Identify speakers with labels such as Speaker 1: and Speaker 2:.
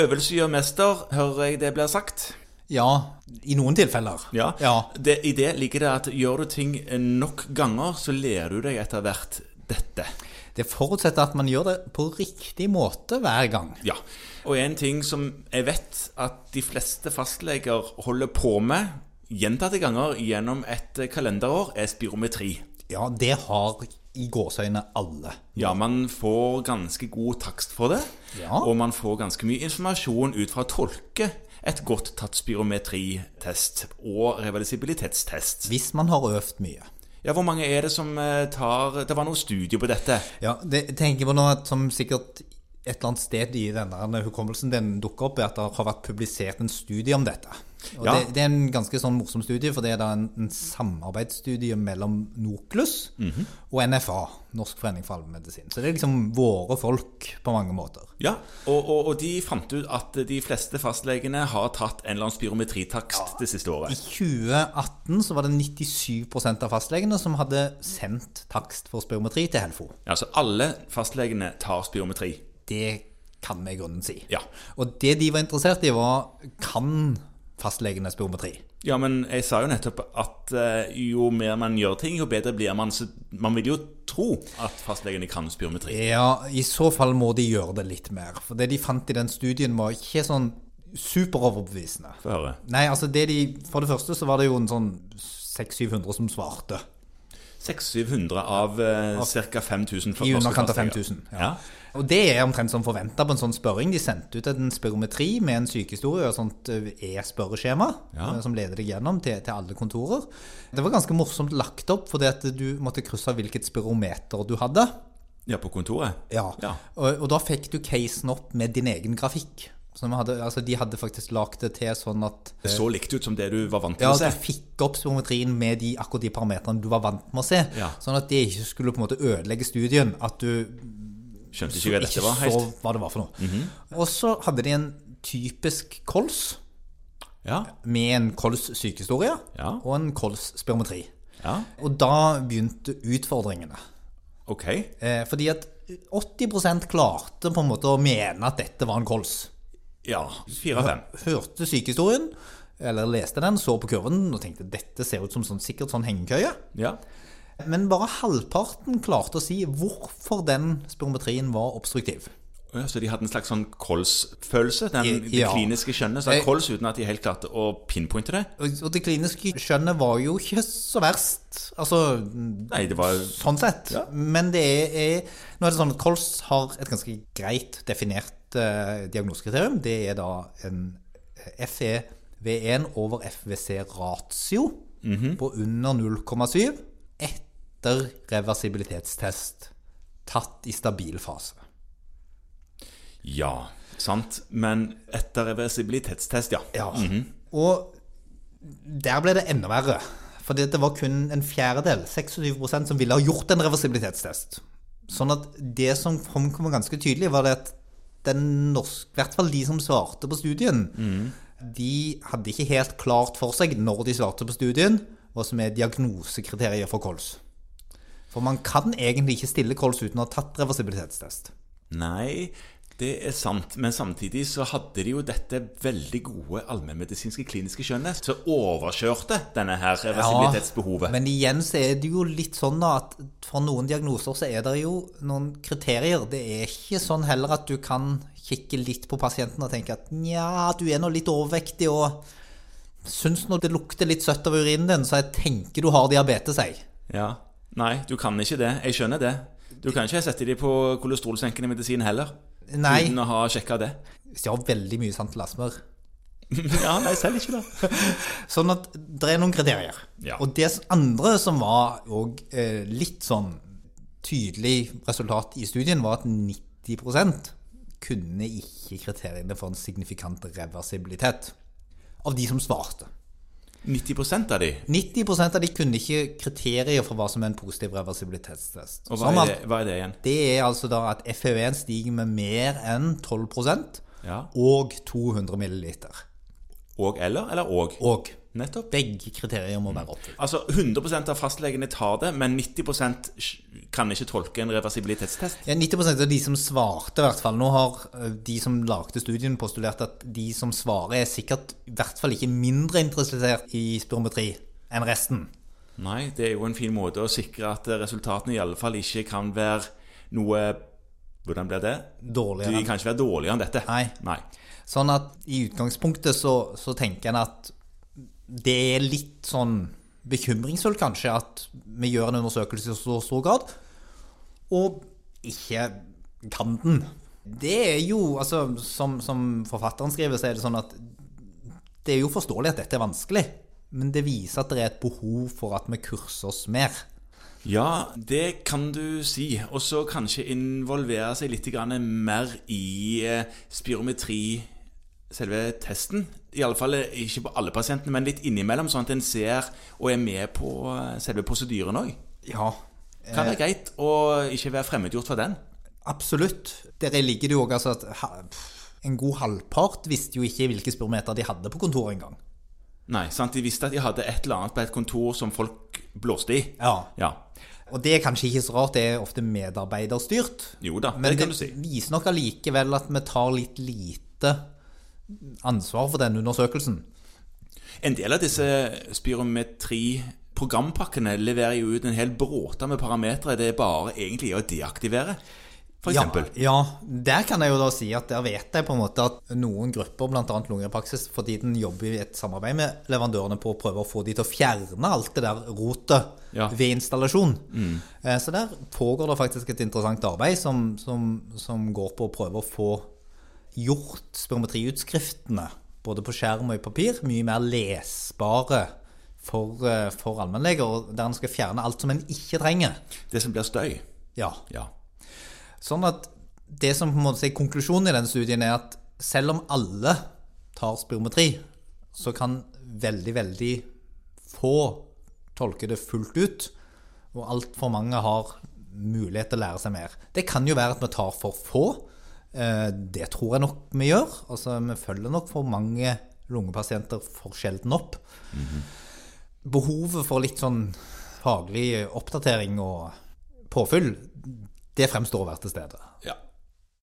Speaker 1: Øvelse gjør mester, hører jeg det blir sagt.
Speaker 2: Ja, i noen tilfeller.
Speaker 1: Ja.
Speaker 2: ja.
Speaker 1: Det, I det ligger det at gjør du ting nok ganger, så lærer du deg etter hvert dette.
Speaker 2: Det forutsetter at man gjør det på riktig måte hver gang.
Speaker 1: Ja. Og en ting som jeg vet at de fleste fastleger holder på med gjentatte ganger gjennom et kalenderår, er spirometri.
Speaker 2: Ja, det har i gåseøyne alle.
Speaker 1: Ja, man får ganske god takst for det,
Speaker 2: Ja.
Speaker 1: og man får ganske mye informasjon ut fra å tolke et godt tatt spirometritest og reversibilitetstest.
Speaker 2: Hvis man har øvd mye.
Speaker 1: Ja, hvor mange er det som eh, tar Det var noe studie på dette.
Speaker 2: Ja, det jeg tenker på nå at som sikkert et eller annet sted i denne hukommelsen den dukker opp, er at det har vært publisert en studie om dette. Og
Speaker 1: Ja.
Speaker 2: det, det er en ganske sånn morsom studie, for det er da en, en samarbeidsstudie mellom NOKLUS
Speaker 1: Mhm.
Speaker 2: og NFA, Norsk forening for allmennmedisin. Så det er liksom våre folk på mange måter.
Speaker 1: Ja, og, og, og de fant ut at de fleste fastlegene har tatt en eller annen spirometritakst det siste
Speaker 2: I
Speaker 1: året.
Speaker 2: 2018 så var det 97 av fastlegene som hadde sendt takst for spirometri til Helfo.
Speaker 1: Altså alle fastlegene tar spirometri.
Speaker 2: Det kan vi i grunnen si.
Speaker 1: Ja.
Speaker 2: Og det de var interessert i, var kan fastlegene spirometri?
Speaker 1: Ja, men jeg sa jo nettopp at eh, jo mer man gjør ting, jo bedre blir man. Så man vil jo tro at fastlegene kan spirometri.
Speaker 2: Ja, i så fall må de gjøre det litt mer. For det de fant i den studien var ikke sånn superoverbevisende.
Speaker 1: Få høre.
Speaker 2: Nei, altså det de, For det første så var det jo en sånn 600-700 som svarte.
Speaker 1: 600-700 av uh, ca. 5000
Speaker 2: I underkant av 5000.
Speaker 1: Ja.
Speaker 2: Og det er omtrent som forventa på en sånn spørring. De sendte ut en spirometri med en sykehistorie og et sånt eh, e-spørreskjema
Speaker 1: Ja.
Speaker 2: eh, som leder deg gjennom til, til alle kontorer. Det var ganske morsomt lagt opp, fordi at du måtte krysse av hvilket spirometer du hadde.
Speaker 1: ja, på kontoret?
Speaker 2: Ja.
Speaker 1: Ja.
Speaker 2: Og, og da fikk du casen opp med din egen grafikk. Så vi hadde, altså de hadde faktisk lagd det til sånn at
Speaker 1: Det så likt ut som det du var vant til
Speaker 2: ja,
Speaker 1: å se.
Speaker 2: du fikk opp spirometrien med de, akkurat de parametrene du var vant med å se.
Speaker 1: Ja.
Speaker 2: Sånn at det ikke skulle på en måte ødelegge studien. At du
Speaker 1: Skjønte ikke hva dette
Speaker 2: ikke
Speaker 1: var Mhm.
Speaker 2: så
Speaker 1: helt.
Speaker 2: hva det var for noe. Og så hadde de en typisk kols
Speaker 1: Ja.
Speaker 2: med en kols sykehistorie
Speaker 1: Ja.
Speaker 2: og en kols spirometri.
Speaker 1: ja.
Speaker 2: Og da begynte utfordringene.
Speaker 1: Ok.
Speaker 2: Eh, fordi at 80 klarte på en måte å mene at dette var en kols.
Speaker 1: Ja. Fire av fem.
Speaker 2: Hørte sykehistorien, eller leste den, så på kurven og tenkte dette ser ut som sånn, sikkert sånn hengekøye.
Speaker 1: Ja.
Speaker 2: Men bare halvparten klarte å si hvorfor den spirometrien var obstruktiv.
Speaker 1: Å ja, så de hadde en slags sånn kols-følelse? Den, Det
Speaker 2: Ja.
Speaker 1: kliniske skjønnet sa
Speaker 2: Jeg-
Speaker 1: kols uten at de helt klarte å pinpointe det?
Speaker 2: Og og det kliniske skjønnet var jo ikke så verst, altså
Speaker 1: Nei, det var
Speaker 2: sånn sett. Men det er, er Nå er det sånn at kols har et ganske greit definert eh, diagnosekriterium. Det er da en eh, E FEV1 over FVC-ratio på under 0,7 etter reversibilitetstest tatt i stabil fase.
Speaker 1: Ja, sant. Men etter reversibilitetstest, ja.
Speaker 2: Ja. Og der ble det enda verre. For det var kun en fjerdedel, 26 som ville ha gjort en reversibilitetstest. Sånn at det som framkom ganske tydelig, var det at den norsk, i hvert fall de som svarte på studien, de hadde ikke helt klart for seg når de svarte på studien, hva som er diagnosekriterier for kols. For man kan egentlig ikke stille kols uten å ha tatt reversibilitetstest.
Speaker 1: Nei, det er sant. Men samtidig så hadde de jo dette veldig gode allmennmedisinske kliniske skjønnet, som overkjørte denne her reversibilitetsbehovet.
Speaker 2: Men igjen så er det jo litt sånn da at for noen diagnoser så er det jo noen kriterier. Det er ikke sånn heller at du kan kikke litt på pasienten og tenke at nja, du er nå litt overvektig og syns når det lukter litt søtt av urinen din, så jeg tenker du har diabetes, jeg.
Speaker 1: Ja. Nei, du kan ikke det. Jeg skjønner det. Du kan ikke sette de på kolesterolsenkende medisin heller.
Speaker 2: Nei.
Speaker 1: Uten å ha sjekka det.
Speaker 2: Hvis de har veldig mye santelasmer.
Speaker 1: Ja, nei, selv ikke det.
Speaker 2: Sånn at det er noen kriterier.
Speaker 1: Ja.
Speaker 2: Og det andre som var og, eh, litt sånn tydelig resultat i studien, var at 90 kunne ikke kriteriene for en signifikant reversibilitet av de som svarte.
Speaker 1: 90 av de.
Speaker 2: 90 av de kunne ikke kriterier for hva som er en positiv reversibilitetstest.
Speaker 1: Og hva
Speaker 2: Som
Speaker 1: er,
Speaker 2: at-
Speaker 1: det, hva er det igjen?
Speaker 2: det er altså da at FEV1 stiger med mer enn 12
Speaker 1: Ja.
Speaker 2: og 200 milliliter.
Speaker 1: Og eller? Eller og?
Speaker 2: Og
Speaker 1: Nettopp.
Speaker 2: Begge kriterier må være oppfylt.
Speaker 1: Altså, 100 av fastlegene tar det, men 90 kan ikke tolke en reversibilitetstest.
Speaker 2: Ja, 90 av de som svarte, i hvert fall. Nå har eh, de som lagde studien postulert at de som svarer, er sikkert i hvert fall ikke mindre interessert i spirometri enn resten.
Speaker 1: Nei, det er jo en fin måte å sikre at eh, resultatene i alle fall ikke kan være noe Hvordan blir det? De
Speaker 2: Dårligere. enn-
Speaker 1: kan ikke være dårligere enn dette.
Speaker 2: Nei. Sånn at i utgangspunktet så, så tenker en at det er litt sånn bekymringsfullt kanskje at vi gjør en undersøkelse i så stor grad, og ikke kan den. Det er jo, altså som, som forfatteren skriver, så er det sånn at det er jo forståelig at dette er vanskelig, men det viser at det er et behov for at vi kurser oss mer.
Speaker 1: Ja, det kan du si. Og så kanskje involvere seg litt grann mer i eh, spirometri, selve testen. I alle fall eh, ikke på alle pasientene, men litt innimellom, sånn at en ser og er med på eh, selve prosedyren òg.
Speaker 2: Ja,
Speaker 1: Kan
Speaker 2: Eh.
Speaker 1: være greit å ikke være fremmedgjort for den.
Speaker 2: Absolutt. Der ligger det jo også altså, at ha- pff, en god halvpart visste jo ikke hvilke spirometer de hadde på kontoret engang.
Speaker 1: Nei, sant? De visste at de hadde et eller annet på et kontor som folk blåste i.
Speaker 2: Ja.
Speaker 1: Ja.
Speaker 2: Og det er kanskje ikke så rart, det er ofte medarbeiderstyrt.
Speaker 1: Jo da,
Speaker 2: Men
Speaker 1: det
Speaker 2: det
Speaker 1: kan du si.
Speaker 2: viser nok allikevel at vi tar litt lite ansvar for denne undersøkelsen.
Speaker 1: En del av disse spirometri-programpakkene leverer jo ut en hel bråte med parametere det er bare egentlig å deaktivere, for eksempel.
Speaker 2: Ja, ja, der kan jeg jo da si at der vet jeg på en måte at noen grupper, bl.a. Lungepraksis, fordi den jobber i et samarbeid med leverandørene på å prøve å få de til å fjerne alt det der rotet
Speaker 1: Ja. Mm.
Speaker 2: ved installasjon. Eh, Så der pågår det faktisk et interessant arbeid som, som, som går på å prøve å få gjort spirometriutskriftene, både på skjerm og i papir, mye mer lesbare for, eh, for allmennleger, og der en skal fjerne alt som en ikke trenger.
Speaker 1: Det som blir støy.
Speaker 2: Ja,
Speaker 1: Ja.
Speaker 2: Sånn at det som på en måte er konklusjonen i den studien er at selv om alle tar spirometri, så kan veldig, veldig få tolke det fullt ut, og altfor mange har mulighet til å lære seg mer. Det kan jo være at vi tar for få. Eh, Det tror jeg nok vi gjør. Altså, vi følger nok for mange lungepasienter for sjelden opp. Behovet for litt sånn faglig oppdatering og påfyll, det fremstår å være til stede.
Speaker 1: ja.